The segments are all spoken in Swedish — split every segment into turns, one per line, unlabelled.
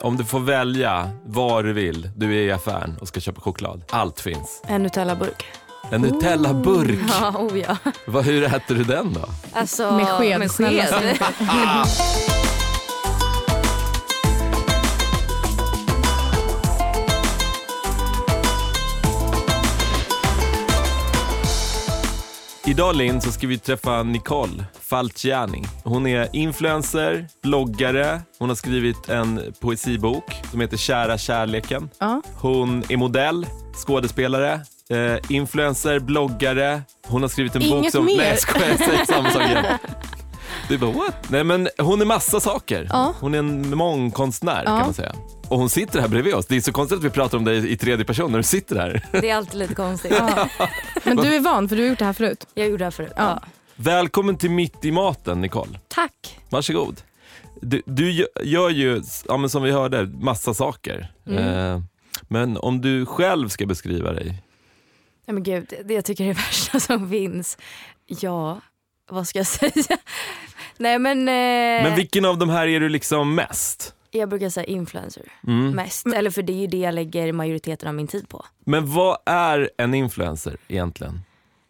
Om du får välja var du vill, du är i affären och ska köpa choklad. Allt finns.
En Nutella-burk.
En Nutella-burk.
Ja, oh ja.
Vad- Hur äter du den då?
Alltså,
Med sked,
Med
snälla
sked.
Idag Linn så ska vi träffa Nicole Falciani. Hon är influencer, bloggare. Hon har skrivit en poesibok som heter Kära kärleken.
Ja.
Hon är modell, skådespelare, eh, influencer, bloggare. Hon har skrivit en bok
Inget
som...
mer.
Nej, jag skojar. Jag säger samma sak igen. Du bara what? Nej men hon är massa saker.
Ja.
Hon är en mångkonstnär
Ja.
kan man säga. Och hon sitter här bredvid oss. Det är så konstigt att vi pratar om dig i tredje person när du sitter här.
Det är alltid lite konstigt.
Ja. Men du är van för du har gjort det här förut.
Jag gjorde det här förut.
Ja.
Välkommen till Mitt i maten Nicole.
Tack.
Varsågod. Du, du gö- gör ju, ja, men som vi hörde, massa saker.
Mm.
Eh, men om du själv ska beskriva dig.
Nej men gud, det jag tycker är det värsta som finns. Ja, vad ska jag säga? Nej men, eh,
Men vilken av de här är du liksom mest?
jag brukar säga influencer
Mm.
mest. Eller för det är ju det jag lägger majoriteten av min tid på.
Men vad är en influencer egentligen?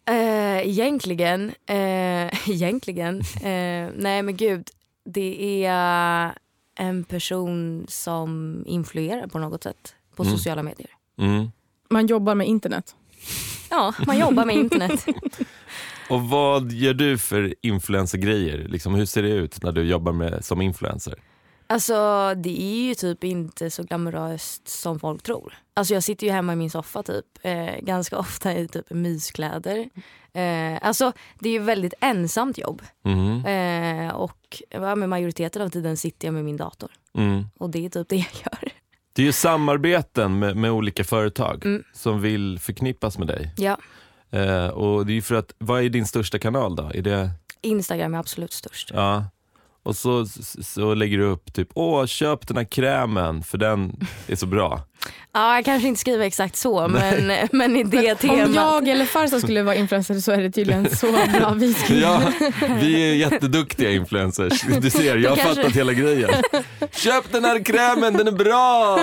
Eh, egentligen, eh, egentligen, eh, nej men gud, det är en person som influerar på något sätt på
Mm.
sociala medier.
Mm.
Man jobbar med internet.
Ja, man jobbar med internet.
Och vad gör du för influencergrejer? Liksom, hur ser det ut när du jobbar med, som influencer?
Alltså det är ju typ inte så glamoröst som folk tror. Alltså jag sitter ju hemma i min soffa typ eh, ganska ofta i typ myskläder. Eh, alltså det är ju väldigt ensamt jobb
Mm.
eh, och ja, men majoriteten av tiden sitter jag med min dator
Mm.
och det är typ det jag gör.
Det är ju samarbeten med, med olika företag
Mm.
som vill förknippas med dig.
Ja,
Eh, och det är ju för att, vad är din största kanal då? Är det,
Instagram är absolut störst.
ja. Och så, så, så lägger du upp typ, åh köp den här krämen för den är så bra.
Ja, jag kanske inte skriver exakt så men, men i det temat.
Om jag eller farsa skulle vara influencer så är det tydligen så bra vi skulle...
ja, vi är jätteduktiga influencers. Du ser, jag har
kanske-
fattat hela grejen. Köp den här krämen, den är bra!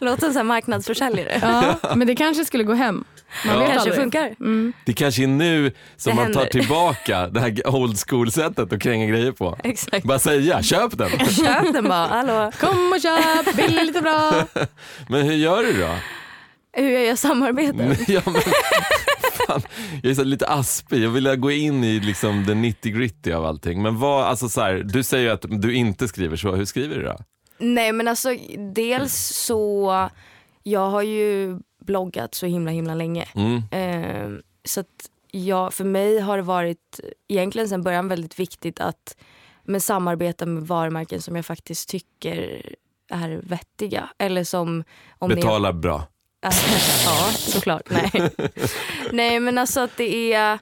Låter som en marknadsförsäljare.
Ja, men det kanske skulle gå hem. Man
Ja.
vet
kanske
aldrig.
funkar.
Mm.
Det kanske är nu som
Det
man tar
händer.
tillbaka det här old school sättet att kränga grejer på.
Exakt.
Bara säga, köp den.
Köp den bara, hallå.
Kom och köp, billigt och bra.
Men hur gör du då?
Hur jag gör samarbeten.
ja, men, fan, jag är så lite aspig, jag vill gå in i liksom the nitty gritty av allting. Men vad, alltså så här, du säger ju att du inte skriver så, hur skriver du då?
Nej men alltså dels så, jag har ju bloggat så himla himla länge.
Mm,
Ehm, så att jag, för mig har det varit egentligen sedan början väldigt viktigt att men, samarbeta med varumärken som jag faktiskt tycker är vettiga. Eller som... Om det är-
betalar bra.
ja, såklart. Nej. Nej, men alltså att det är...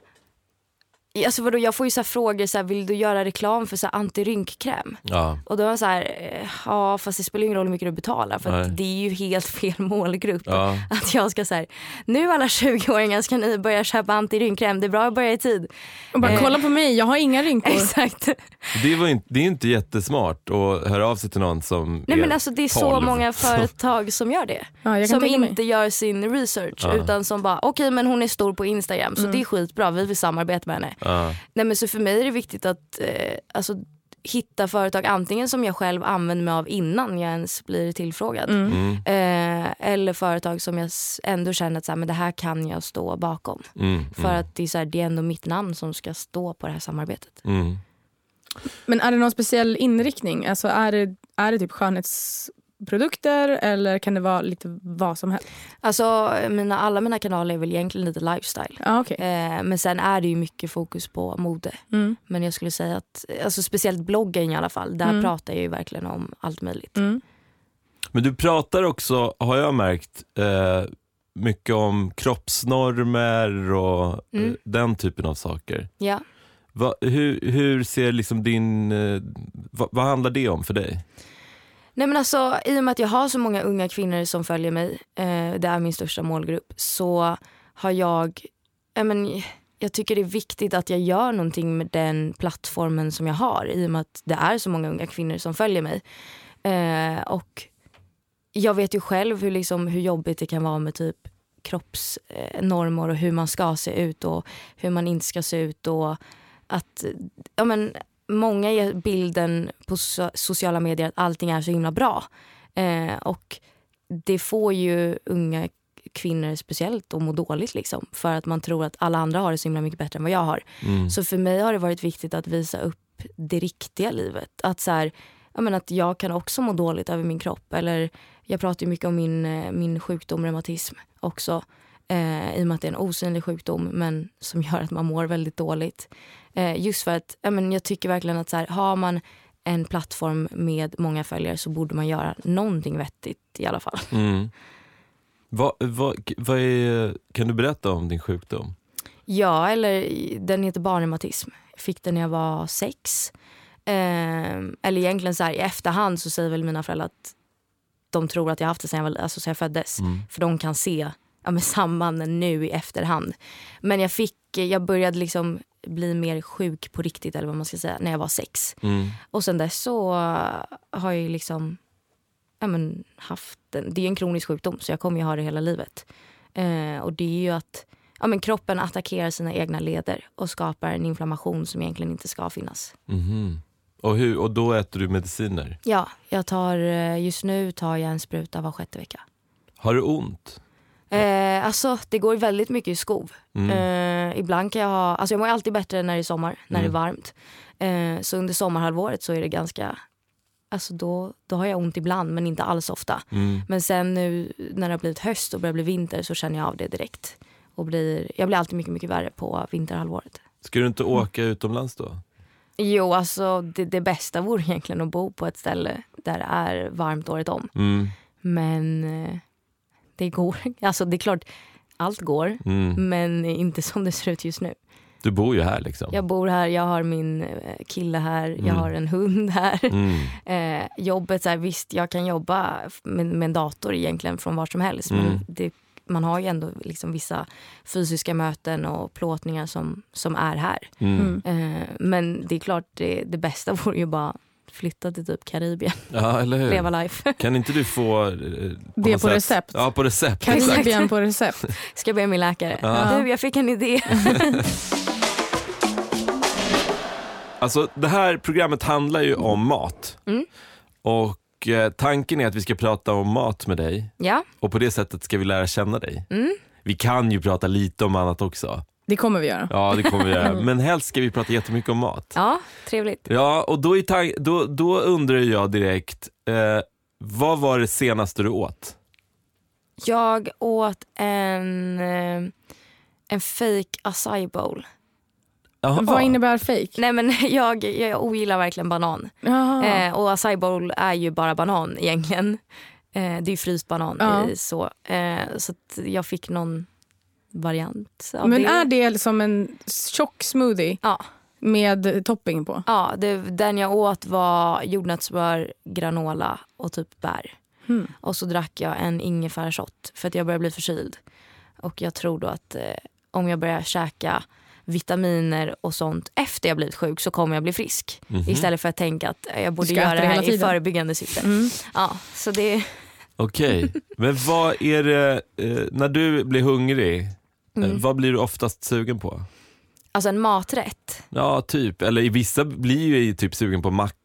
Alltså vadå, jag får ju så här frågor, så här, vill du göra reklam för så här antirynkkräm?
Ja.
Och då är jag så här, eh, ja fast det spelar ju ingen roll hur mycket du betalar för
Nej.
att det är ju helt fel målgrupp.
Ja.
Att jag ska så här, nu alla 20-åringar ska ni börja köpa antirynkkräm, det är bra att börja i tid.
Och bara,
Eh.
kolla på mig, jag har inga rynkor.
Exakt.
Det, var inte, det är inte jättesmart att höra av sig till någon som
Nej
är
men alltså det är så
12.
många företag som gör det.
Ja, jag kan
som
tänka mig.
inte gör sin research
Ja.
utan som bara, okej men hon är stor på Instagram
Mm.
så det är skitbra, vi vill samarbeta med henne.
Ja.
Nej men så för mig är det viktigt att eh, alltså, hitta företag antingen som jag själv använder mig av innan jag ens blir tillfrågad.
Mm,
Eh, eller företag som jag s- ändå känner att så här, men det här kan jag stå bakom.
mm,
För att det är, så här, det är ändå mitt namn som ska stå på det här samarbetet.
mm.
Men är det någon speciell inriktning? Alltså är, det, är det typ skönhetsprodukter eller kan det vara lite vad som helst?
Alltså mina, alla mina kanaler är väl egentligen lite lifestyle.
Ja, okej.
Eh, men sen är det ju mycket fokus på mode.
Mm.
Men jag skulle säga att, alltså speciellt bloggen i alla fall, där
Mm.
pratar jag ju verkligen om allt möjligt.
Mm.
Men du pratar också, har jag märkt, eh, mycket om kroppsnormer och
Mm.
eh, den typen av saker.
Ja.
Va, hur, hur ser liksom din, eh, va, vad handlar det om för dig?
Nej men alltså i och med att jag har så många unga kvinnor som följer mig, eh, det är min största målgrupp, så har jag, jag, men, jag tycker det är viktigt att jag gör någonting med den plattformen som jag har i och med att det är så många unga kvinnor som följer mig. Eh, och jag vet ju själv hur, liksom, hur jobbigt det kan vara med typ kroppsnormer och hur man ska se ut och hur man inte ska se ut. Och att, ja, men, många ger bilden på so- sociala medier att allting är så himla bra. Eh, och det får ju unga kvinnor speciellt att må dåligt liksom, för att man tror att alla andra har det så himla mycket bättre än vad jag har.
Mm.
Så för mig har det varit viktigt att visa upp det riktiga livet. Att, så här, jag, menar, att jag kan också må dåligt över min kropp. Eller Jag pratar ju mycket om min, eh, min sjukdom reumatism också. Eh, I och med att det är en osynlig sjukdom men som gör att man mår väldigt dåligt. Eh, just för att jag, menar, jag tycker verkligen att så här, har man en plattform med många följare så borde man göra någonting vettigt i alla fall.
Mm. Vad, vad, vad är, kan du berätta om din sjukdom?
Ja, eller den heter barnreumatism. Jag Fick den när jag var sex. Ehm, eller egentligen så här, i efterhand så säger väl mina föräldrar att de tror att jag haft det sen jag, var, alltså sen jag föddes.
Mm.
För de kan se ja, men sambanden nu i efterhand. Men jag, fick, jag började liksom bli mer sjuk på riktigt eller vad man ska säga, när jag var sex.
Mm.
Och sen dess så äh, har jag ju liksom ja, men, haft en, Det är ju en kronisk sjukdom så jag kommer ju ha det hela livet. Eh, och det är ju att ja, men, kroppen attackerar sina egna leder och skapar en inflammation som egentligen inte ska finnas.
Mhm. Och, hur, och då äter du mediciner.
Ja, jag tar, eh, just nu tar jag en spruta var sjätte vecka.
Har du ont?
Eh, alltså det går väldigt mycket i skov.
Mm.
Eh, ibland kan jag ha, alltså jag mår ju alltid bättre när det är sommar, när
Mm.
det är varmt. Eh, så under sommarhalvåret så är det ganska, alltså då, då har jag ont ibland men inte alls ofta.
Mm.
Men sen nu när det har blivit höst och börjar bli vinter så känner jag av det direkt. Och blir, jag blir alltid mycket, mycket värre på vinterhalvåret.
Ska du inte åka utomlands då?
Jo, alltså det, det bästa vore egentligen att bo på ett ställe där det är varmt året om.
Mm.
Men eh, det går. Alltså det är klart, allt går.
Mm.
Men inte som det ser ut just nu.
Du bor ju här liksom.
Jag bor här, jag har min eh, kille här,
Mm.
jag har en hund här.
Mm.
Eh, jobbet, så här, visst jag kan jobba f- med, med en dator egentligen från var som helst.
Mm.
Men det, man har ju ändå liksom vissa fysiska möten och plåtningar som, som är här.
Mm.
Mm.
Eh, men det är klart, det, det bästa vore ju bara flytta till typ Karibien,
Ja, eller hur?
leva life.
Kan inte du få... eh, på
Det
något
på
sätt-
recept.
Ja, på recept. exakt.
Karibien på recept.
Ska be min läkare.
Ja.
Du, jag fick en idé.
Alltså, det här programmet handlar ju om mat.
Mm.
Och eh, tanken är att vi ska prata om mat med dig
ja,
och på det sättet ska vi lära känna dig.
Mm.
Vi kan ju prata lite om annat också.
Det kommer vi göra.
Ja, det kommer vi göra. Men helst ska vi prata jättemycket om mat.
ja trevligt.
Ja, och då, är tan- då, då undrar jag direkt, eh, vad var det senaste du åt?
Jag åt en, eh, en fake acai bowl.
Jaha.
Vad innebär fake?
Nej men jag, jag ogillar verkligen banan.
Jaha.
Eh, och acai bowl är ju bara banan egentligen. Eh, det är ju fryst banan
Ja.
i så. Eh, så att jag fick någon variant av
Men
det.
är det som en tjock smoothie
Ja.
med topping på?
Ja, det, den jag åt var jordnötssmör, granola och typ bär.
Hmm.
Och så drack jag en ingefärashot för att jag började bli förkyld. Och jag tror då att eh, om jag börjar käka vitaminer och sånt efter jag blivit sjuk så kommer jag bli frisk.
Mhm.
Istället för att tänka att eh, jag borde
ska
göra
äta
det
det hela
här i
tiden.
förebyggande syfte.
Mm.
Ja, så det,
Okej, men vad är det, eh, när du blir hungrig, eh, vad blir du oftast sugen på?
alltså en maträtt.
Ja, typ, eller i vissa blir ju i typ sugen på macka.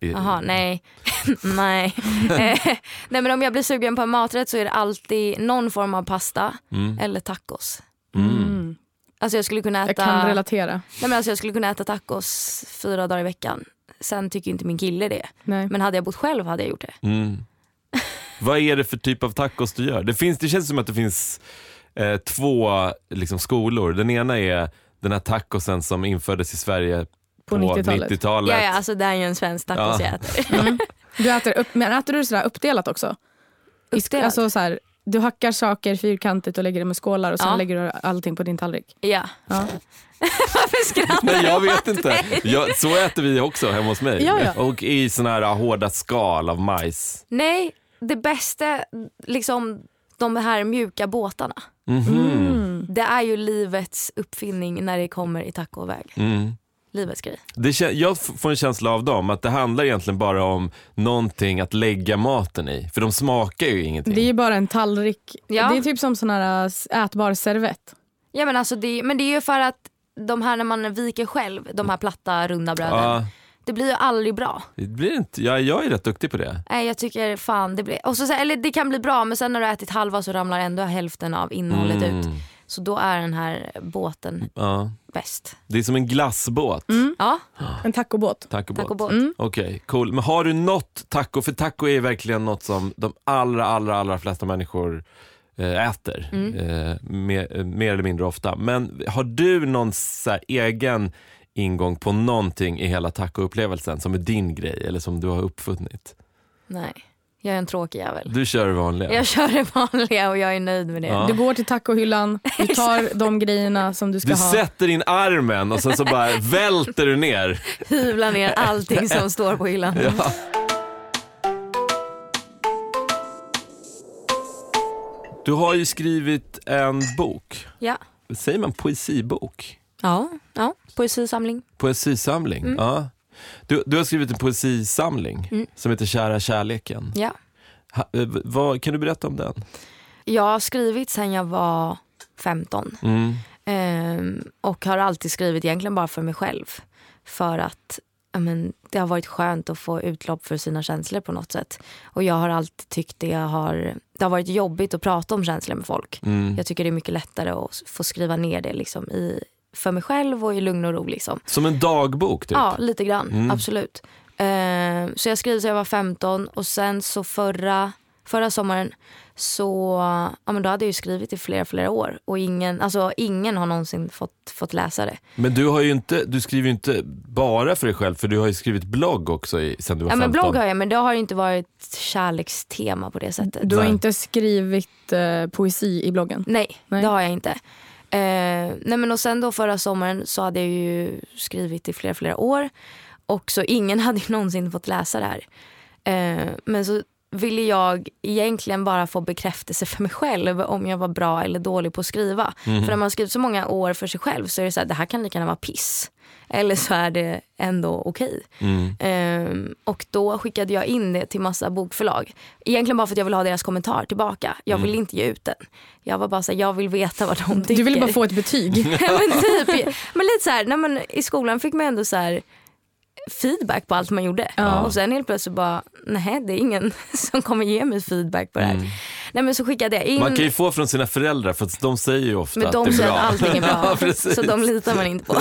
I-
Jaha, nej. nej. Eh, nej men om jag blir sugen på en maträtt så är det alltid någon form av pasta
Mm.
eller tacos.
Mm.
Mm.
Alltså jag skulle kunna
Jag
äta...
kan relatera.
Nej, men alltså jag skulle kunna äta tacos fyra dagar i veckan. Sen tycker inte min kille det.
Nej.
Men hade jag bott själv hade jag gjort det.
Mm. vad är det för typ av tacos du gör? Det, finns, det känns som att det finns eh, två liksom, skolor. Den ena är den här tacosen som infördes i Sverige på,
På 90-talet.
90-talet.
Ja, ja, alltså det här är ju en svensk tacos
Ja.
jag äter.
Du äter upp, men äter du sådär uppdelat också? I sk-
Uppdelat?
Alltså så här, du hackar saker fyrkantigt och lägger dem i skålar och sen
Ja.
lägger du allting på din tallrik.
Ja.
Ja.
Varför skrattar
Nej, jag vet
mig?
inte. Jag, så äter vi också hemma hos mig.
Ja, ja.
Och i såna här hårda skal av majs.
Nej, det bästa, liksom de här mjuka båtarna.
Mhm.
Mm.
Det är ju livets uppfinning när det kommer i tacoväg.
Mm.
livets grej.
Det, kän- jag f- får en känsla av dem att det handlar egentligen bara om någonting att lägga maten i. För de smakar ju ingenting.
Det är ju bara en tallrik.
Ja.
Det är typ som sån här äh, ätbar servett.
Ja, men, alltså det, men det är ju för att de här när man viker själv, de här platta runda bröden,
ja,
det blir ju aldrig bra.
det blir inte, ja, jag är rätt duktig på det.
Nej jag tycker fan det blir, och så, så här- eller det kan bli bra men sen när du har ätit halva så ramlar ändå hälften av innehållet ut.
Mm,
Så då är den här båten
ja.
bäst.
Det är som en glassbåt.
Ja,
Ah.
En tacobåt.
Mm. Tacobåt.
tack och båt.
Okej, cool. Men har du något taco? För taco är verkligen något som de allra, allra, allra flesta människor eh, äter. Eh, mer, eh, mer eller mindre ofta. Men har du någon så här egen ingång på någonting i hela tacoupplevelsen som är din grej eller som du har uppfunnit?
Nej, jag är en tråkig jävel.
Du kör det vanliga.
Jag kör det vanliga och jag är nöjd med det.
Ja.
Du går till tacohyllan, du tar de grejerna som du ska
Du
ha.
sätter in armen och sen så bara välter du ner.
hyvla ner allting som står på hyllan.
Ja. Du har ju skrivit en bok.
Ja.
Säger man poesibok?
Ja, ja. poesisamling.
Poesisamling? Ja. Du, du har skrivit en poesisamling
Mm.
som heter Kära kärleken.
Ja.
Ha, eh, v- vad, kan du berätta om den?
Jag har skrivit sen jag var 15
Mm.
ehm, och har alltid skrivit egentligen bara för mig själv. För att ja, men, det har varit skönt att få utlopp för sina känslor på något sätt. Och jag har alltid tyckt det har, det har varit jobbigt att prata om känslor med folk.
Mm.
Jag tycker det är mycket lättare att s- få skriva ner det liksom i, för mig själv och i lugn och ro. Liksom.
Som en dagbok typ?
Ja, lite grann.
Mm.
Absolut. Eh, så jag skrev så jag var 15 och sen så förra, förra sommaren så ja, men då hade jag ju skrivit i flera, flera år och ingen, alltså, ingen har någonsin fått, fått läsa det.
Men du, har ju inte, du skriver ju inte bara för dig själv för du har ju skrivit blogg också i, sen du var
Ja, men
15.
blogg har jag men det har ju inte varit kärlekstema på det sättet.
Du har
Nej.
inte skrivit eh, poesi i bloggen.
Nej,
Nej.
det har jag inte. Eh, nej men och sen då förra sommaren så hade jag ju skrivit i flera, flera år. Och så ingen hade ju någonsin fått läsa det här. Eh, men så ville jag egentligen bara få bekräftelse för mig själv om jag var bra eller dålig på att skriva. För när man har skrivit så många år för sig själv så är det så här, det här kan lika gärna vara piss. Eller så är det ändå okej.
Mm.
Ehm, och då skickade jag in det till massa bokförlag. Egentligen bara för att jag ville ha deras kommentar tillbaka. Jag vill inte ge ut den. Jag var bara så här, jag vill veta vad de tycker.
Du ville bara få ett betyg.
Ja, men typ, men lite så här, nej, men i skolan fick man ändå så här feedback på allt man gjorde. Och sen helt plötsligt bara, nej det är ingen som kommer ge mig feedback på det här. Nej men så skickade jag in.
Man kan ju få från sina föräldrar för att de säger ju ofta
Men
att
de
det är
säger
bra.
att allting är
ja,
bra.
precis.
så de litar man inte på.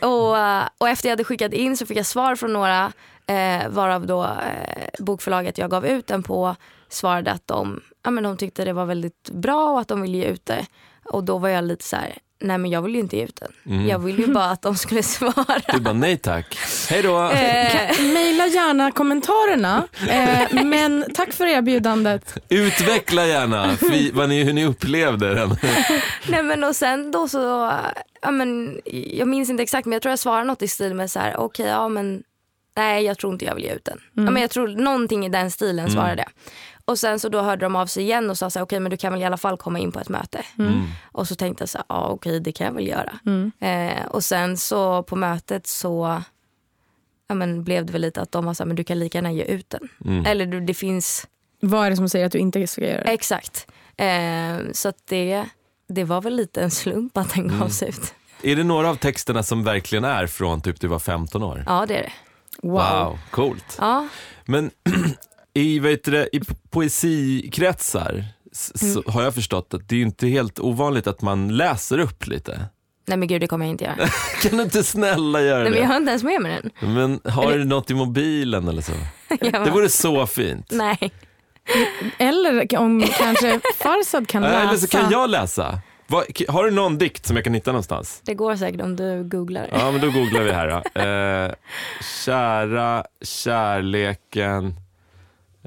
och, eh, och efter jag hade skickat in så fick jag svar från några eh, varav då eh, bokförlaget jag gav ut den på svarade att de, ja, men de tyckte det var väldigt bra och att de ville ge ut det. Och då var jag lite så här, nej men jag vill ju inte ge ut den.
Mm.
Jag ville ju bara att de skulle svara.
Du bara nej tack, hej då.
Eh,
Maila gärna kommentarerna, eh, men tack för erbjudandet. Utveckla
Utveckla gärna vad ni, hur ni upplevde den.
Nej men och sen då så, ja, men, jag minns inte exakt men jag tror jag svarade något i stil med så här, okej ja men nej jag tror inte jag vill ge ut den. Ja, men jag tror någonting i den stilen svarade jag. Och sen så då hörde de av sig igen och sa så här, okej men du kan väl i alla fall komma in på ett möte. Och så tänkte jag så här, ja okej det kan jag väl göra. Eh, och sen så på mötet så ja, men, blev det väl lite att de var så här, men du kan lika gärna ge ut den.
Mm.
Eller du, det finns
Vad är det som säger att du inte ska göra det?
Exakt. Eh, så att det, det var väl lite en slump att den gavs
Mm.
ut.
Är det några av texterna som verkligen är från typ du var 15 år?
Ja, det är det.
Wow, coolt.
Ja,
Men i, vad heter det, i po- poesikretsar s-
Mm.
så har jag förstått att det är ju inte helt ovanligt att man läser upp lite.
nej men gud det kommer jag inte göra.
Kan du inte snälla göra
nej, men jag
det?
har inte ens med mig den.
Men har du något i mobilen eller så?
Jag bara,
Det vore så fint.
Nej.
Eller om kanske Farsad kan läsa.
Eller så kan jag läsa. Vad- k- Har du någon dikt som jag kan hitta någonstans?
Det går säkert om du googlar. Ja.
Ja, men då googlar vi här då. Eh, kära kärleken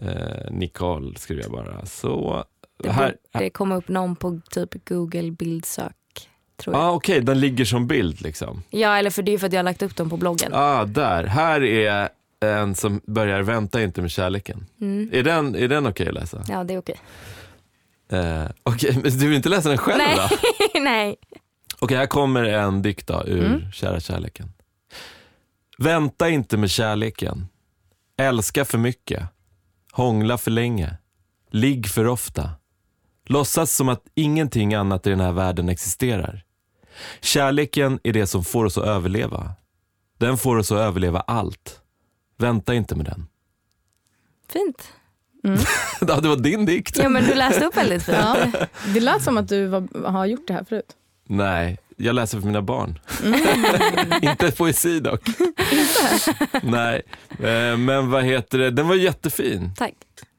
eh, Nicole skriver jag bara. Så,
Det,
här.
bo- det kommer upp någon på typ Google bildsök. Tror jag.
Ah, Okej, den ligger som bild liksom.
Ja, eller för det är ju för att jag har lagt upp dem på bloggen.
Ah, där. Här är en som börjar vänta inte med kärleken.
Mm.
Är den, är den okej att läsa?
Ja, det är okej.
Eh, okej, men du vill inte läsa den själv
Nej.
då?
nej.
Okej, här kommer en dikt då, ur
Mm.
Kära kärleken. Vänta inte med kärleken. Älska för mycket. Hångla för länge. Ligg för ofta. Låtsas som att ingenting annat i den här världen existerar. Kärleken är det som får oss att överleva. Den får oss att överleva allt. Vänta inte med den.
Fint.
Mm.
Ja, det var din dikt.
Ja, men du läste upp väldigt fint.
Ja. Det lät som att du var, har gjort det här förut.
Nej, jag läser för mina barn.
Mm.
Inte poesi dock. Nej, eh, men vad heter det? Den var jättefin.
Tack.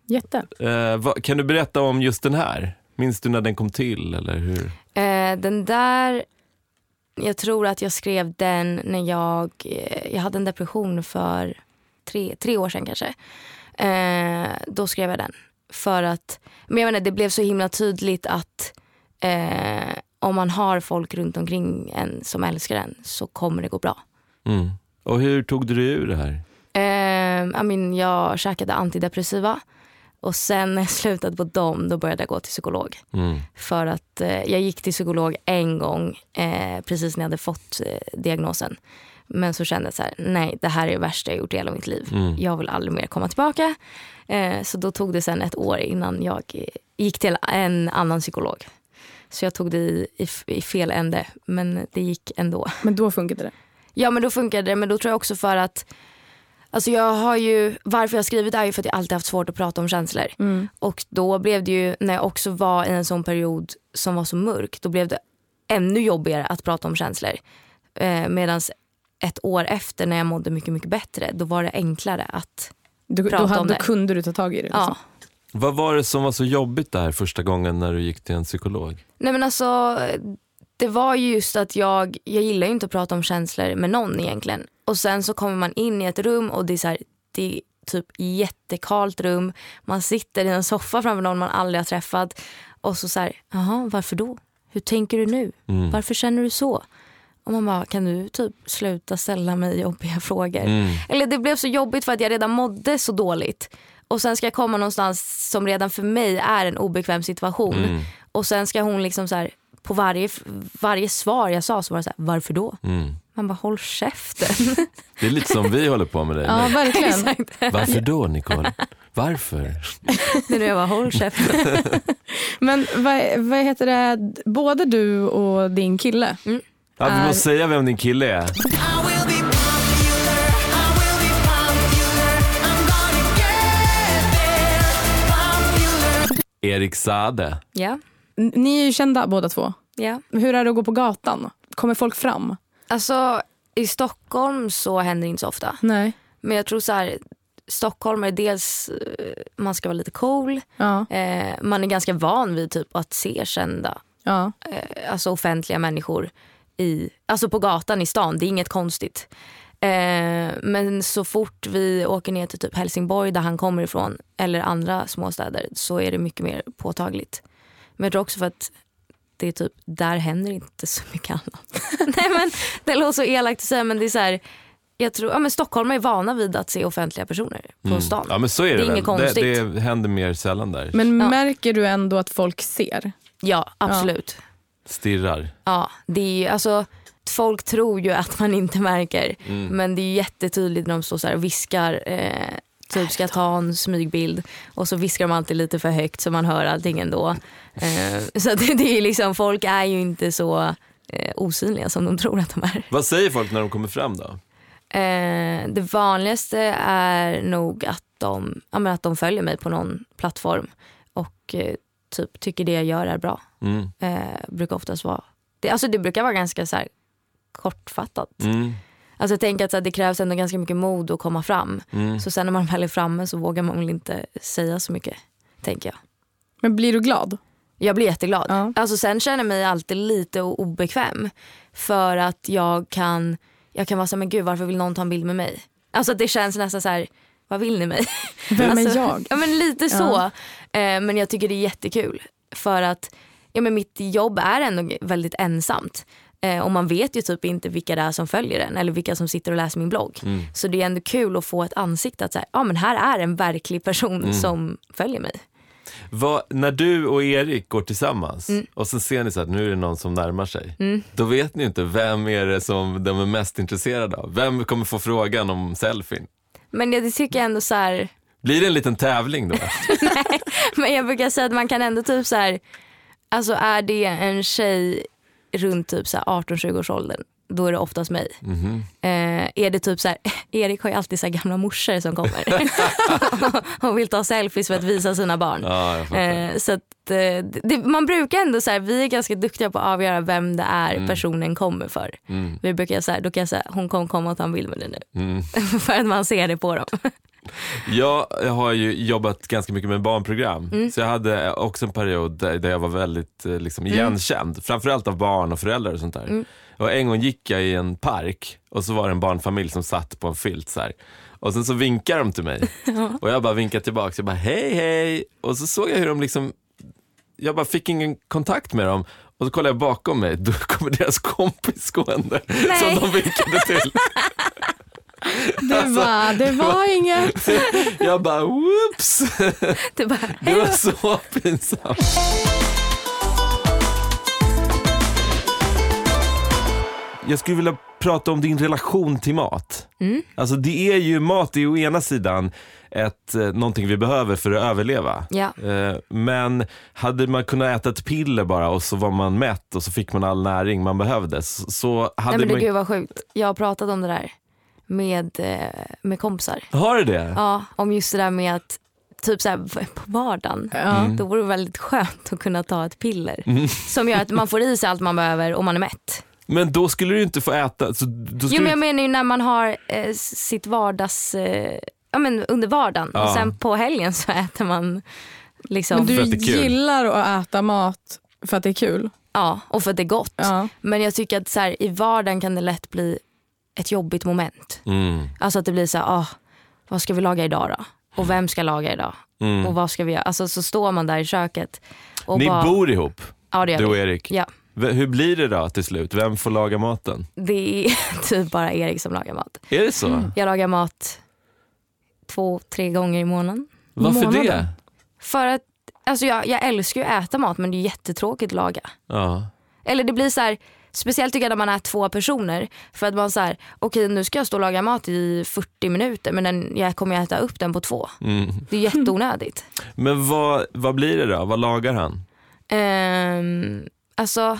Jätte.
Eh, vad, kan du berätta om just den här? Minns du när den kom till eller hur?
Eh, den där, jag tror att jag skrev den när jag, eh, jag hade en depression för tre, tre år sedan kanske. Eh, då skrev jag den. För att, men jag menar, det blev så himla tydligt att eh, om man har folk runt omkring en som älskar en så kommer det gå bra.
Mm. Och hur tog du dig ur det här?
Eh, I mean, jag käkade antidepressiva och sen när jag slutade på dem då började jag gå till psykolog.
Mm.
För att eh, jag gick till psykolog en gång eh, precis när jag hade fått eh, diagnosen. Men så kände jag så här, nej det här är det värsta jag gjort i hela mitt liv.
Mm.
Jag vill aldrig mer komma tillbaka. Eh, så då tog det sen ett år innan jag eh, gick till en annan psykolog. Så jag tog det i, i, f- i fel ände, men det gick ändå.
Men då funkade det.
Ja men då funkade det, men då tror jag också för att Alltså jag har ju, varför jag har skrivit är ju för att jag alltid haft svårt att prata om känslor.
Mm.
Och då blev det ju, när jag också var i en sån period som var så mörk, då blev det ännu jobbigare att prata om känslor. Eh, Medan ett år efter när jag mådde mycket, mycket bättre, då var det enklare att,
Du, då,
Prata om
hade, då
det.
kunde du ta tag i det. Liksom.
ja.
Vad var det som var så jobbigt där första gången när du gick till en psykolog?
Nej men alltså, det var ju just att jag, jag gillar ju inte att prata om känslor med någon egentligen. Och sen så kommer man in i ett rum och det är så här, det är typ jättekalt rum. Man sitter i en soffa framför någon man aldrig har träffat. Och så så här, jaha varför då? Hur tänker du nu?
Mm.
Varför känner du så? Och man bara, kan du typ sluta ställa mig jobbiga frågor?
Mm.
Eller det blev så jobbigt för att jag redan mådde så dåligt. Och sen ska jag komma någonstans som redan för mig är en obekväm situation.
Mm.
Och sen ska hon liksom så här, på varje, varje svar jag sa så var det så här, varför då?
Mm.
Man bara, håll käften. Liksom.
Det är lite som vi håller på med dig
Ja,
nu.
verkligen.
Varför då Nicole? Varför?
Det är nu jag bara, håll käften.
Men vad, vad heter det, både du och din kille.
Ja, vi
Är-
Ehm.
måste säga vem din kille är.
I will be popular, I will be popular, I'm gonna get there, popular
Erik Sade.
ja,
N- Ni är ju kända båda två.
ja.
Hur är det att gå på gatan? Kommer folk fram?
Alltså i Stockholm så händer det inte så ofta.
Nej.
Men jag tror så här, Stockholm är dels, eh, man ska vara lite cool.
Ja.
Eh, man är ganska van vid typ att se kända,
ja.
eh, alltså offentliga människor i, alltså på gatan i stan. Det är inget konstigt. Eh, men så fort vi åker ner till typ Helsingborg där han kommer ifrån eller andra småstäder så är det mycket mer påtagligt. Men jag tror också för att det är typ, där händer inte så mycket annat. Nej men det låter så elakt att säga men det är så här, jag tror, ja men Stockholm är vana vid att se offentliga personer på
Mm.
stan.
Ja, men så är det,
Det är
väl.
inget konstigt.
Det, det händer mer sällan där.
Men
Ja.
märker du ändå att folk ser?
Ja absolut.
Stirrar.
Ja, det är ju, alltså, folk tror ju att man inte märker.
Mm.
Men det är ju jättetydligt när de står så här och viskar. Eh, typ ska ta en smygbild. Och så viskar de alltid lite för högt så man hör allting ändå. Eh, så att det, det är liksom, folk är ju inte så eh, osynliga som de tror att de är.
Vad säger folk när de kommer fram då?
Eh, det vanligaste är nog att de, ja, men att de följer mig på någon plattform. Och eh, typ tycker det jag gör är bra
Mm.
eh, brukar oftast vara... Det, alltså det brukar vara ganska så här, kortfattat.
Mm.
Alltså jag tänker att så här, det krävs ändå ganska mycket mod att komma fram.
Mm.
Så sen när man väl är framme så vågar man väl inte säga så mycket, tänker jag.
Men blir du glad?
Jag blir jätteglad.
Ja.
Alltså sen känner jag mig alltid lite o- obekväm. För att jag kan, jag kan vara så här, men gud varför vill någon ta en bild med mig? Alltså att det känns nästan så här, vad vill ni mig?
Vem
Alltså,
är jag?
Ja men lite så. Eh, men jag tycker det är jättekul. För att ja, men mitt jobb är ändå väldigt ensamt. Eh, och man vet ju typ inte vilka det är som följer den eller vilka som sitter och läser min blogg. Så det är ändå kul att få ett ansikte att säga, ja men här är en verklig person som följer mig.
Vad, när du och Erik går tillsammans
Mm.
och sen ser ni så att nu är det någon som närmar sig.
Mm.
Då vet ni inte vem är det som de är mest intresserade av. Vem kommer få frågan om selfien?
Men jag det tycker jag ändå så här,
Blir det en liten tävling då?
men jag brukar säga att man kan ändå typ så här, alltså är det en tjej runt typ så här 18-20 års åldern, då är det oftast mig.
Mhm.
Eh, är det typ så här, Erik har ju alltid så här gamla morsor som kommer och vill ta selfies för att visa sina barn.
Ja, jag fattar.
Eh, så att, eh, det, man brukar ändå så här, vi är ganska duktiga på att avgöra vem det är personen kommer för.
Mm.
Vi brukar så här, då kan jag säga hon kommer komma och ta en bild med dig nu.
Mm.
för att man ser det på dem.
Jag har ju jobbat ganska mycket med barnprogram. Så jag hade också en period där där jag var väldigt eh, liksom, igenkänd. Framförallt av barn och föräldrar och sånt där. Och en gång gick jag i en park och så var det en barnfamilj som satt på en filt så här. Och sen så vinkade de till mig. Och jag bara vinkade tillbaka. Jag bara hej hej. Och så såg jag hur de liksom, jag bara fick ingen kontakt med dem. Och så kollade jag bakom mig, då kommer deras kompis gående
Nej.
som de vinkade till.
Det
alltså.
var, det var inget.
Jag bara whoops.
Det bara,
Det var så pinsamt. Jag skulle vilja prata om din relation till mat.
Mm.
Alltså det är ju, mat är ju å ena sidan ett, eh, någonting vi behöver för att överleva.
ja.
Eh, Men hade man kunnat äta ett piller bara och så var man mätt och så fick man all näring man behövde så- så hade
Nej men du,
man...
gud vad sjukt. Jag har pratat om det där med, eh, med kompisar.
Har du det?
Ja, om just det där med att typ så här, v- på vardagen,
Mm.
Ja.
då vore det väldigt skönt att kunna ta ett piller som gör att man får i sig allt man behöver och man är mätt.
Men då skulle du inte få äta... Så då skulle
Jo men jag
du...
menar ju när man har eh, sitt vardags, eh, ja men under vardagen
Ja.
och sen på helgen så äter man liksom,
Men du
För att det är kul.
gillar att äta mat för att det är kul.
ja och för att det är gott.
Ja.
Men jag tycker att så här, i vardagen kan det lätt bli ett jobbigt moment.
Mm,
Alltså att det blir så här, ah, vad ska vi laga idag då? Och vem ska laga idag?
mm.
Och vad ska vi göra? Alltså så står man där i köket. Och
Ni
bara,
bor ihop,
ja, det, gör
du och
vi.
Erik?
Ja,
V- Hur blir det då till slut? Vem får laga maten?
det är typ bara Erik som lagar mat.
Är det så?
Mm.
Jag lagar mat två, tre gånger i månaden.
Varför
Månaden.
det?
För att, alltså jag, jag älskar ju att äta mat men det är jättetråkigt att laga.
Ja.
Eller det blir så här, speciellt tycker jag när man är två personer. För att man så här, okej nu ska jag stå och laga mat i 40 minuter men den, jag kommer ju äta upp den på två.
Mm.
Det är jätteonödigt.
Men vad, vad blir det då? Vad lagar han?
Ehm, alltså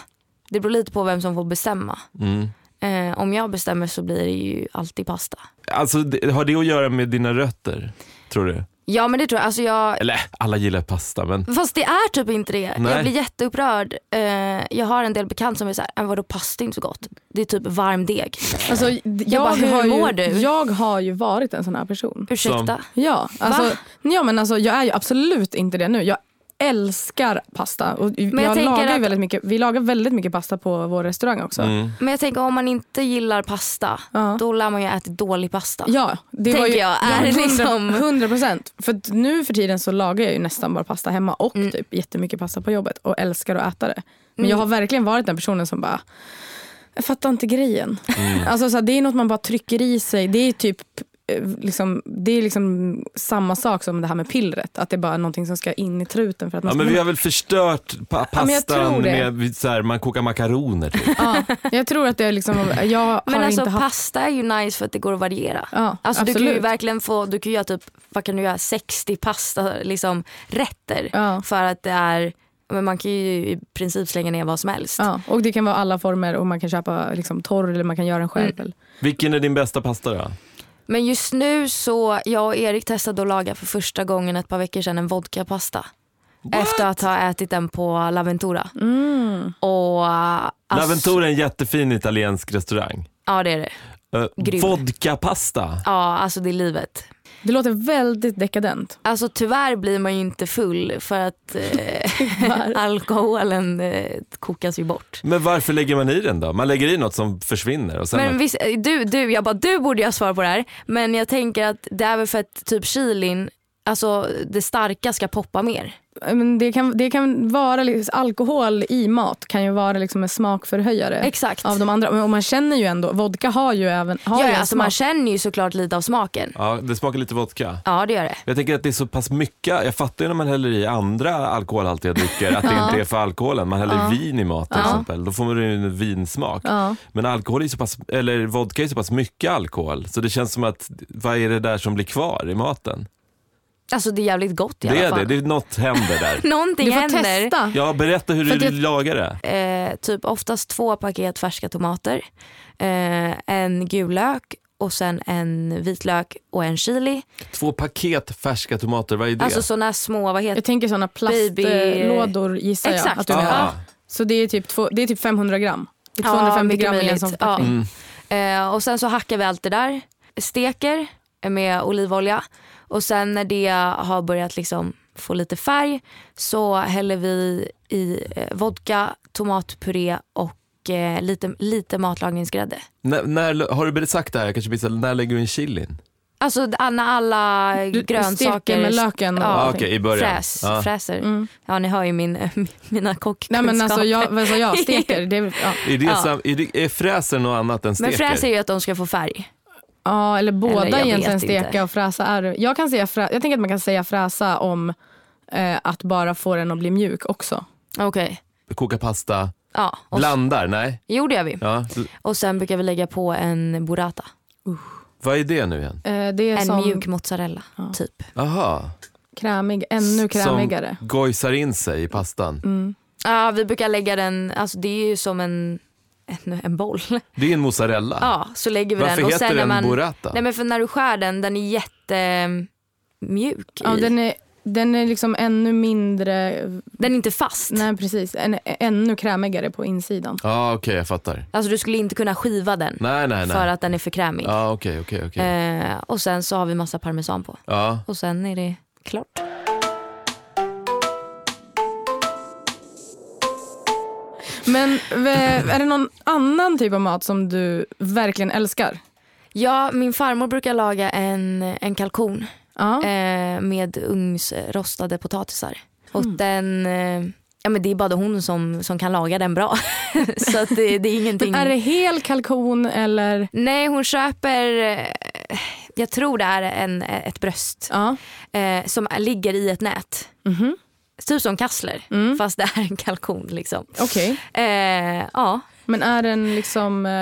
det beror lite på vem som får bestämma.
Mm.
Eh, om jag bestämmer så blir det ju alltid pasta.
Alltså, det- har det att göra med dina rötter? Tror du?
Ja men det tror jag. Alltså, jag
Eller alla gillar pasta, men
fast det är typ inte det.
Nej.
Jag blir jätteupprörd. Eh, jag har en del bekant som är såhär, vadå pasta är inte så gott. Det är typ varm deg.
Alltså, jag,
bara, hur
har ju,
mår du?
Jag har ju varit en sån här person.
Ursäkta.
Ja, alltså, ja men alltså, jag är ju absolut inte det nu. Jag älskar pasta. Och jag
jag tänker
lagar ju
att-
väldigt mycket, vi lagar väldigt mycket pasta på vår restaurang också.
mm.
Men jag tänker om man inte gillar pasta,
Ja.
då lär man ju äta dålig pasta.
Ja, det
Tänker jag, är det liksom-
100 procent. För att nu för tiden så lagar jag ju nästan bara pasta hemma och
Mm.
typ jättemycket pasta på jobbet och älskar att äta det. Men jag har verkligen varit den personen som bara, jag fattar inte grejen.
Mm.
Alltså, så här, det är något man bara trycker i sig. Det är typ eh, Liksom, det är liksom samma sak som det här med pillret. Att det är bara är någonting som ska in i truten. För att man
ja,
ska
men vi har väl förstört pa-
Ja, men jag tror
pastan
det.
med så här, man kokar makaroner. Typ.
Ja, jag tror att det är liksom, jag har
Men alltså
inte haft...
pasta är ju nice för att det går att variera.
Ja,
Alltså, du kan ju
absolut.
verkligen få, du kan ju göra typ, vad kan du göra, 60 pasta liksom, rätter.
Ja.
För att det är, men man kan ju i princip slänga ner vad som helst.
Ja, och det kan vara alla former och man kan köpa liksom, torr eller man kan göra den själv.
Mm.
eller-
Vilken är din bästa pasta då?
Men just nu så, jag och Erik testade att laga för första gången ett par veckor sedan en vodkapasta. Efter att ha ätit den på Laventura.
Mm.
Och, äh, alltså-
Laventura är en jättefin italiensk restaurang.
Ja det är det.
Uh,
Grym.
vodkapasta.
Ja alltså det är livet.
Det låter väldigt dekadent.
Alltså tyvärr blir man ju inte full för att eh, alkoholen eh, kokas ju bort.
Men varför lägger man i den då? Man lägger i något som försvinner. Och sen
Men visst, eh, du, du, jag bara, du borde ju ha svar på det här. Men jag tänker att det är väl för att typ chilin alltså det starka ska poppa mer.
Men det, kan, det kan vara, liksom, alkohol i mat kan ju vara liksom en smakförhöjare
Exakt.
av de andra. Men- Och man känner ju ändå, vodka har ju även har
ja,
ju
ja,
en
alltså
smak.
man känner ju såklart lite av smaken.
Ja, det smakar lite vodka.
Ja det gör det.
Jag tänker att det är så pass mycket, jag fattar ju när man häller i andra alkoholhaltiga drycker att det inte är för alkoholen. Man häller vin i mat till exempel, då får man ju en vinsmak.
Ja.
Men alkohol är så pass, eller vodka är så pass mycket alkohol så det känns som att vad är det där som blir kvar i maten?
Alltså det är jävligt gott i
Det
alla
är
fall.
det, det är något händer där.
Någonting
Du får
händer.
testa.
Ja, berätta hur
För
du
att jag-
lagar det.
eh, typ oftast två paket färska tomater, eh, en gul lök och sen en vitlök och en chili.
Två paket färska tomater, vad är det?
Alltså sådana små, vad heter
Jag tänker såna plastlådor gissar jag
Exakt.
att du menar.
ah,
Så det är, typ två, det är typ 500 gram. Det är
Ja,
250
mycket
gram i en
möjligt.
sån förpackning.
Ja.
Mm.
Eh, och sen så hackar vi allt det där, steker med olivolja och sen när det har börjat liksom få lite färg så häller vi i eh, vodka, tomatpuré och eh, lite, lite matlagningsgrädde.
när, när, har du sagt det här? Jag kanske missade, när lägger du in chilin?
Alltså d- när alla
Du
grönsaker
steker med löken och
Ja.
Ah,
allting.
Okej, i början.
fräs,
Ah.
fräser.
Mm.
Ja ni hör ju min, mina
Nej
kockkunskaper.
men alltså jag, vad sa jag steker, det är, väl- ja.
Är, det
Ja.
sam, är, det, är fräser något annat än
Men
steker?
fräs är ju att de ska få färg.
ja eller båda
Eller jag
egentligen
vet
steka
inte.
och fräsa är jag, kan säga frä, jag tänker att man kan säga fräsa om eh, att bara få den att bli mjuk också.
Okej.
Koka pasta,
Ja, och s-
blandar, nej?
jo det gör vi.
Ja.
Och sen brukar vi lägga på en burrata.
Vad är det nu igen?
Eh, det är
En
som
mjuk mozzarella typ.
Aha.
krämig, ännu krämigare.
Som gojsar in sig i pastan.
Ja vi brukar lägga den, alltså det är ju som en, en, en boll.
Det är en mozzarella.
Ja så lägger vi
Varför
den. Och
heter
sen när
den
man,
burrata?
Nej men för när du skär den, den är jättemjuk.
Ja,
i.
den, är, den är liksom ännu mindre,
den är inte fast.
nej precis, en, ännu krämigare på insidan.
Ja, okej, jag fattar.
Alltså du skulle inte kunna skiva den
Nej, nej, nej.
för att den är för krämig.
Ja, okej, okej, okej.
Eh, och sen så har vi massa parmesan på.
Ja.
Och sen är det klart.
Men v- är det någon annan typ av mat som du verkligen älskar?
Ja, min farmor brukar laga en, en kalkon
Ja.
eh, med ugnsrostade potatisar.
Mm.
Och den, eh, ja men det är bara hon som, som kan laga den bra. så att det, det är ingenting.
Är det hel kalkon eller?
Nej, hon köper, eh, jag tror det är en, ett bröst
Ja. mhm,
eh, som ligger i ett nät. Typ som kassler, fast det är en kalkon liksom.
mm. Okej.
Eh, ja.
Men är den liksom eh,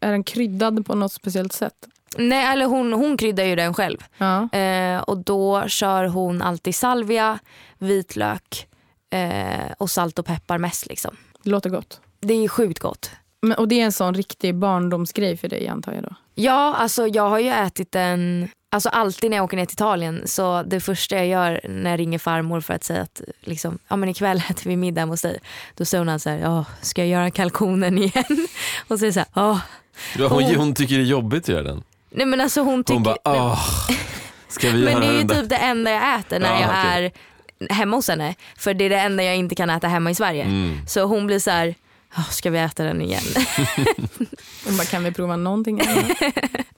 är den kryddad på något speciellt sätt?
Nej, eller hon, hon kryddar ju den själv.
Ja.
Eh, och då kör hon alltid salvia, vitlök eh, och salt och peppar mest. Liksom.
Det låter gott.
Det är sjukt gott.
Men, och det är en sån riktig barndomsgrej för dig antar jag då?
Ja, alltså jag har ju ätit den, alltså alltid när jag åker ner till Italien så det första jag gör när jag ringer farmor för att säga att liksom, ja men ikväll äter vi middag hos dig. Då säger hon alltså så här, ja ska jag göra kalkonen igen? Och så är det så här, ja.
Ja, Hon,
Hon-
hon tycker det är jobbigt att göra den.
Nej men alltså hon tycker,
Hon bara, åh, ska vi
Men
göra
det är ju
den där?
typ det enda jag äter när
Ja,
jag
okej.
är hemma hos henne. För det är det enda jag inte kan äta hemma i Sverige.
Mm.
Så hon blir så här, "Åh, ska vi äta den igen?
Hon bara, kan vi prova någonting annat?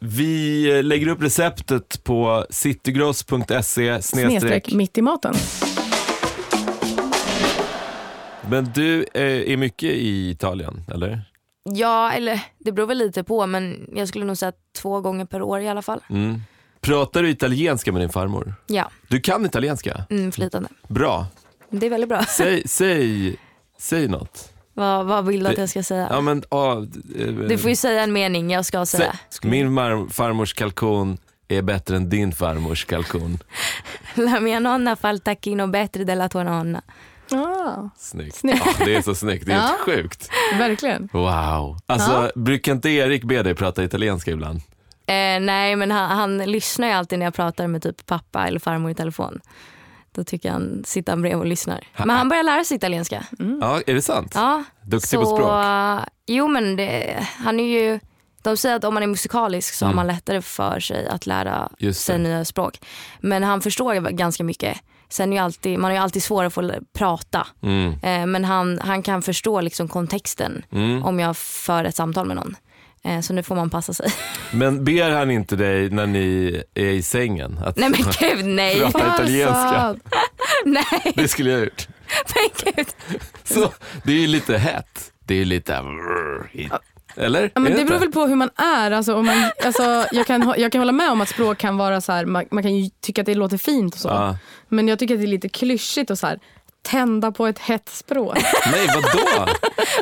Vi eh, lägger upp receptet på citygross.se snedstreck.
Snedstreck mitt i maten.
Men du eh, är mycket i Italien, eller?
ja eller det beror väl lite på men jag skulle nog säga två gånger per år i alla fall.
Mm. Pratar du italienska med din farmor?
Ja,
Du kan italienska?
mm, flytande.
Bra.
Det är väldigt bra.
Säg, säg, säg något.
vad, vad vill du att jag ska säga?
Ja, men, ah, eh,
Du får ju säga en mening jag ska säga.
Sä- Min mar- farmors kalkon är bättre än din farmors kalkon.
La mia nonna fa il tacchino bättre della tua nonna.
Ja,
Snyggt.
Snyggt.
Ja, det är så snyggt, det är
Ja.
helt sjukt.
verkligen.
Wow. Alltså, brukar inte Erik be dig prata italienska ibland?
Eh, nej men han, han lyssnar ju alltid när jag pratar med typ pappa eller farmor i telefon. Då tycker han, sitter han bredvid och lyssnar. Men han börjar lära sig italienska.
Ja, är det sant?
Mm. Ja,
Duktig
så,
på språk.
eh, Jo men det, han är ju, de säger att om man är musikalisk så
Mm.
har man lättare för sig att lära
Just
sig
det.
nya språk. Men han förstår ju ganska mycket. Sen är ju alltid, man har ju alltid svårare att få l- prata.
Mm.
Eh, men han, han kan förstå liksom kontexten
Mm.
om jag för ett samtal med någon. Eh, så nu får man passa sig.
Men ber han inte dig när ni är i sängen? Att
nej men gud nej.
Prata italienska.
Alltså,
nej
Det skulle jag ha gjort.
men gud.
Så, det är ju lite hett. Det är ju lite... Eller?
Ja, men
Är
det beror
inte?
väl på hur man är. Alltså, om man, alltså, jag, kan, hå- jag kan hålla med om att språk kan vara så här, man, man kan ju tycka att det låter fint och så.
Ja.
Men jag tycker att det är lite klyschigt och så här, tända på ett hett språk.
Nej, vadå?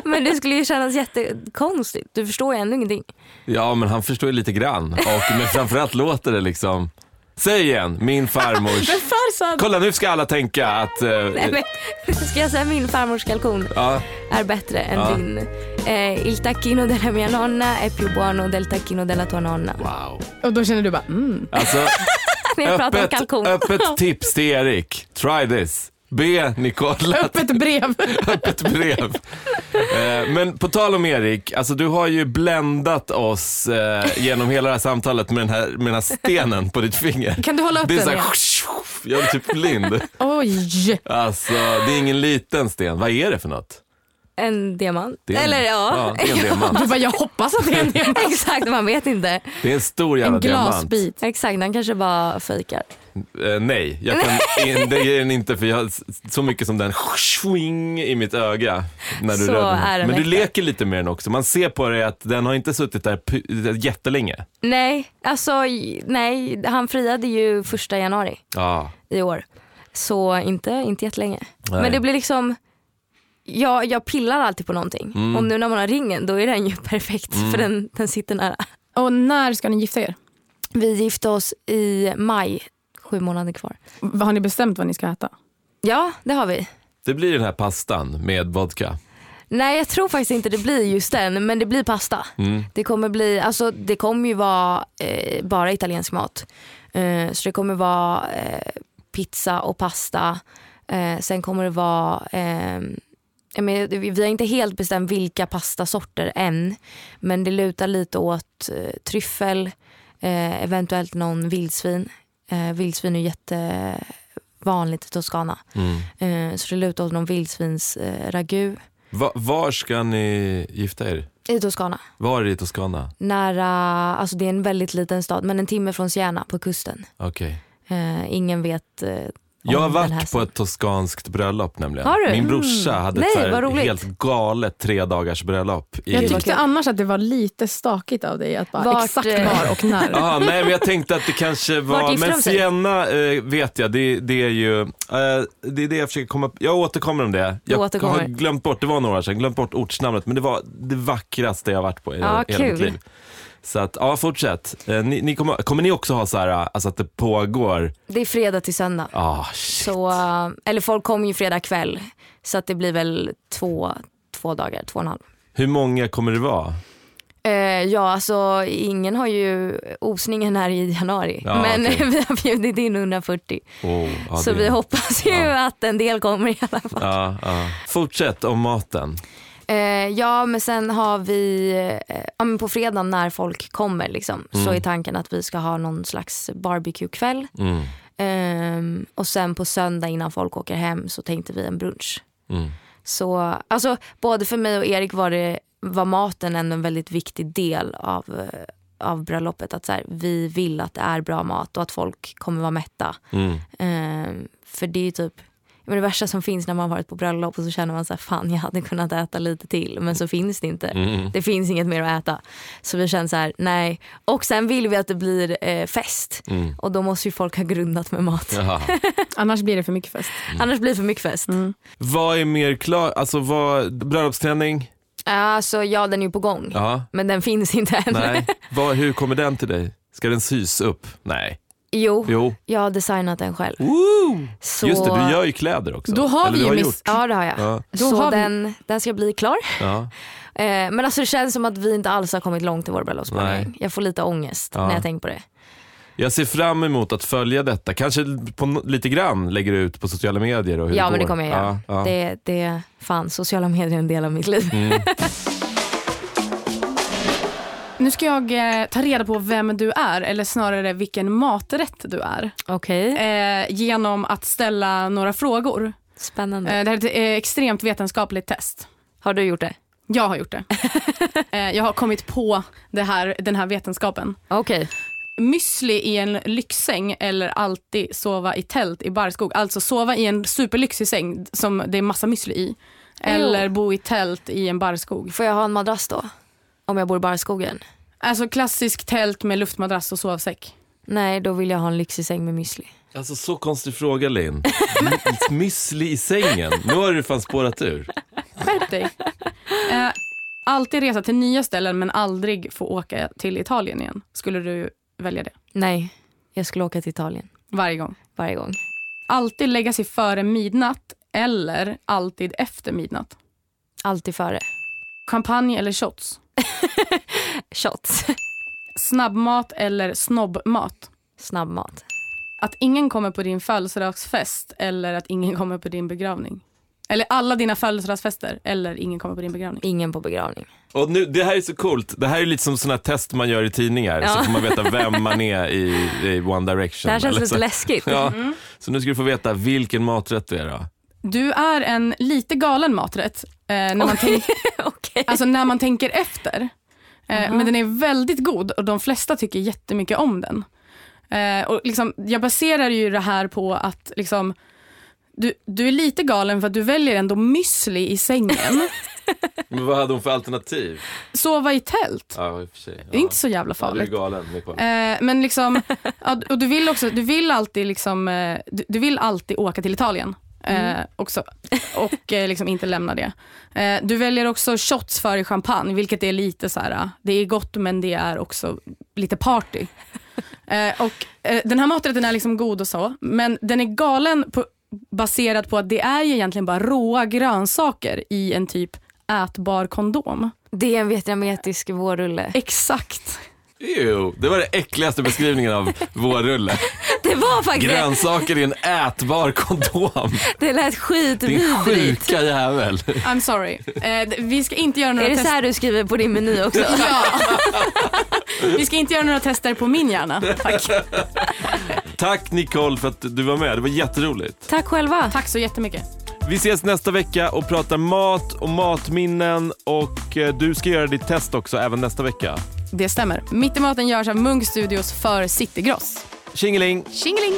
Men det skulle ju kännas jättekonstigt. Du förstår ju ändå ingenting.
Ja, men han förstår ju lite grann. Och, men framförallt låter det liksom... Säg igen, min farmors...
Farsad!
Kolla, nu ska alla tänka att... eh,
Nej, men, ska jag säga min farmors kalkon
ja,
är bättre än
Ja.
din? Eh, il tacchino della mia nonna è più buono del tacchino della tua nonna.
wow.
Och då känner du bara, mm.
Alltså,
När jag pratar om
öppet,
kalkon.
öppet tips till Erik. Try this. Be Nicola att
öppet brev.
öppet brev. Eh, Men på tal om Erik, alltså du har ju bländat oss eh, genom hela det här samtalet med den här, med den här stenen på ditt finger.
Kan du hålla upp
Det är
den?
såhär,
igen?
jag är typ blind.
Oj!
Alltså det är ingen liten sten, vad är det för något?
En diamant.
Det är en,
Eller ja.
det är en diamant.
Du bara, jag hoppas att det är en diamant.
Exakt, man vet inte.
Det är en stor jävla
En
diamant.
glasbit.
Exakt, han kanske bara fejkar.
Eh, nej, jag kan, in, det ger den inte för jag har s- så mycket som den swing i mitt öga. När du
Så
rör den.
är den
Men du
äkta.
leker lite med den också. Man ser på dig att den har inte suttit där p- jättelänge.
Nej, alltså j- nej, han friade ju första januari
Ja.
i år. Så inte, inte jättelänge.
Nej.
Men det blir liksom, jag, jag pillar alltid på någonting.
Mm.
Och nu när man har ringen då är den ju perfekt för den, den sitter nära.
Och när ska ni gifta er?
Vi gifte oss i maj, sju månader kvar.
Vad Har ni bestämt vad ni ska äta?
Ja, det har vi.
Det blir den här pastan med vodka.
Nej jag tror faktiskt inte det blir just den men det blir pasta.
Mm,
Det kommer bli, alltså det kommer ju vara eh, bara italiensk mat. Eh, så det kommer vara eh, pizza och pasta. Eh, sen kommer det vara, eh, jag menar, vi vi har inte helt bestämt vilka pastasorter än. Men det lutar lite åt eh, tryffel, eh, eventuellt någon vildsvin. Eh, vildsvin är ju jättevanligt i Toscana.
mm.
Eh, så det lutar åt någon vildsvinsragu. Eh, ragu.
Va, var ska ni gifta er?
I Toscana.
Var i Toscana?
Nära, alltså det är en väldigt liten stad, men en timme från Siena på kusten.
Okej.
Eh, ingen vet. Eh, om
Jag har
den här
varit på
staden.
ett toskanskt bröllop nämligen.
Har du? Mm.
Min brorsa hade
Nej,
ett så
vad
här
roligt.
helt galet tre dagars bröllop. I...
Jag
vad
tyckte
kul.
annars att det var lite stakigt av dig att bara
Vart,
exakt
eh,
var och när.
Aha, nej men jag tänkte att det kanske
Vart
var,
gifte
men
de sig?
Siena eh, vet jag, det, det är ju, eh, det är det jag försöker komma, jag återkommer om det. Jag
återkommer.
har glömt bort, det var några år sedan, glömt bort ortsnamnet men det var det vackraste jag varit på i
Ja,
hela mitt
kul.
liv. Så att, ja fortsätt. Eh, ni, ni kommer, kommer ni också ha så här, alltså att det pågår,
Det är fredag till söndag.
ah shit.
Så, eh, eller folk kommer ju fredag kväll. Så att det blir väl två, två dagar, två och en halv.
Hur många kommer det vara?
Eh, ja, alltså ingen har ju osningen här i januari.
Ja,
men
okej.
vi har bjudit in 140.
Oh, ja,
så
det-
vi hoppas ju
ja.
att en del kommer i alla fall.
Ja, ja. Fortsätt om maten.
Eh, ja men sen har vi, eh, ja, men på fredagen när folk kommer liksom, så är tanken att vi ska ha någon slags barbecue-kväll.
Mm.
Ehm, och sen på söndag innan folk åker hem så tänkte vi en brunch.
Mm.
Så alltså, både för mig och Erik var, det, var maten ändå en väldigt viktig del av, eh, av bröllopet. Att så här, vi vill att det är bra mat och att folk kommer vara mätta.
Mm.
Ehm, för det är ju typ men det värsta som finns när man har varit på bröllop och så känner man så här, fan jag hade kunnat äta lite till men så finns det inte.
Mm.
Det finns inget mer att äta. Så vi känner så här, nej. Och sen vill vi att det blir eh, fest
Mm.
och då måste ju folk ha grundat med mat.
Jaha.
Annars blir det för mycket fest.
Annars blir det för mycket fest.
Mm.
Vad är mer klart, alltså vad, bröllopsträning?
Alltså ja den är ju på gång
Ja.
men den finns inte än.
Nej. Vad, hur kommer den till dig? Ska den sys upp? Nej.
Jo,
Jo.
jag har designat den själv.
Woo!
Så...
Just det, du gör ju kläder också.
Då har
Eller
vi
du
ju
har
miss-
gjort.
Ja det har jag.
Ja,
Då
Så
har vi-
den, den ska bli klar.
ja.
Eh, men alltså det känns som att vi inte alls har kommit långt i vår bröllopsplanering.
Nej.
Jag får lite ångest
Ja.
när jag tänker på det.
Jag ser fram emot att följa detta. Kanske på, n- lite grann lägger du ut på sociala medier och hur
ja
det
men det
går.
kommer jag göra.
Ja, Mm. ja.
Det, det, fan sociala medier är en del av mitt liv.
Nu ska jag eh, ta reda på vem du är, eller snarare vilken maträtt du är.
Okej,
Eh, genom att ställa några frågor.
spännande.
Mm. Eh, det här är ett eh, extremt vetenskapligt test.
Har du gjort det?
Jag har gjort det. Eh, jag har kommit på det här, den här vetenskapen.
Okej.
Müsli i en lyxsäng eller alltid sova i tält i barskog. Alltså sova i en superlyxig säng som det är massa müsli i. Eller bo i tält i en barskog.
Får jag ha en madrass då? Om jag bor bara i skogen?
Alltså klassisk tält med luftmadrass och sovsäck.
Nej, då vill jag ha en lyxig säng med müsli.
Alltså så konstig fråga Linn. Müsli i sängen. Nu har du fan spårat ur.
Skärp dig. Eh, alltid resa till nya ställen men aldrig få åka till Italien igen. Skulle du välja det?
Nej, jag skulle åka till Italien
Varje gång.
varje gång.
Alltid lägga sig före midnatt eller alltid efter midnatt.
Alltid före.
Champagne eller shots.
Shots.
Snabbmat eller snobbmat.
Snabbmat.
Att ingen kommer på din födelsedagsfest eller att ingen kommer på din begravning. Eller alla dina födelsedagsfester eller ingen kommer på din begravning.
Ingen på begravning.
Och nu, det här är så coolt. Det här är lite som sådana test man gör i tidningar. Så
Ja.
får man veta vem man är i, i One Direction.
Det här känns
eller
lite
så.
läskigt. Mm.
Ja. Så nu ska du få veta vilken maträtt det är då.
Du är en lite galen maträtt eh, när, man tänk,
Okej.
alltså, när man tänker efter. Eh, Men den är väldigt god och de flesta tycker jättemycket om den. Eh, och liksom, jag baserar ju det här på att liksom, du, du är lite galen för att du väljer ändå müsli i sängen.
Men vad hade hon för alternativ?
Sova i tält.
Ja, i och för sig.
Det är inte så jävla
Ja, du är
farligt.
galen. med på.
Eh, men liksom, ja, och du vill också, du vill alltid liksom, eh, du, du vill alltid åka till Italien. Eh,
Mm.
också, och eh, liksom inte lämna det. Eh, du väljer också shots före champagne, vilket är lite så här, eh, det är gott men det är också lite party. Eh, och, eh, den här maträtten är liksom god och så, men den är galen på, baserad på att det är ju egentligen bara råa grönsaker i en typ ätbar kondom.
Det är en vietnamesisk vårrulle.
Exakt.
Ew, det var den äckligaste beskrivningen av vårrulle.
Det var faktiskt det.
Grönsaker i en ätbar kondom.
Det lät
Din
skitvidrigt.
sjuka jävel.
I'm sorry. Eh, d- vi ska inte göra några
Är det
tester.
så här du skriver på din meny också?
Ja. Vi ska inte göra några tester på min hjärna. Tack.
Tack Nicole för att du var med. Det var jätteroligt.
Tack själva.
Tack så jättemycket.
Vi ses nästa vecka och pratar mat och matminnen. Och eh, du ska göra ditt test också även nästa vecka.
Det stämmer. Mitt i maten görs av Munk Studios för Citygross.
Tjingeling!
Tjingeling!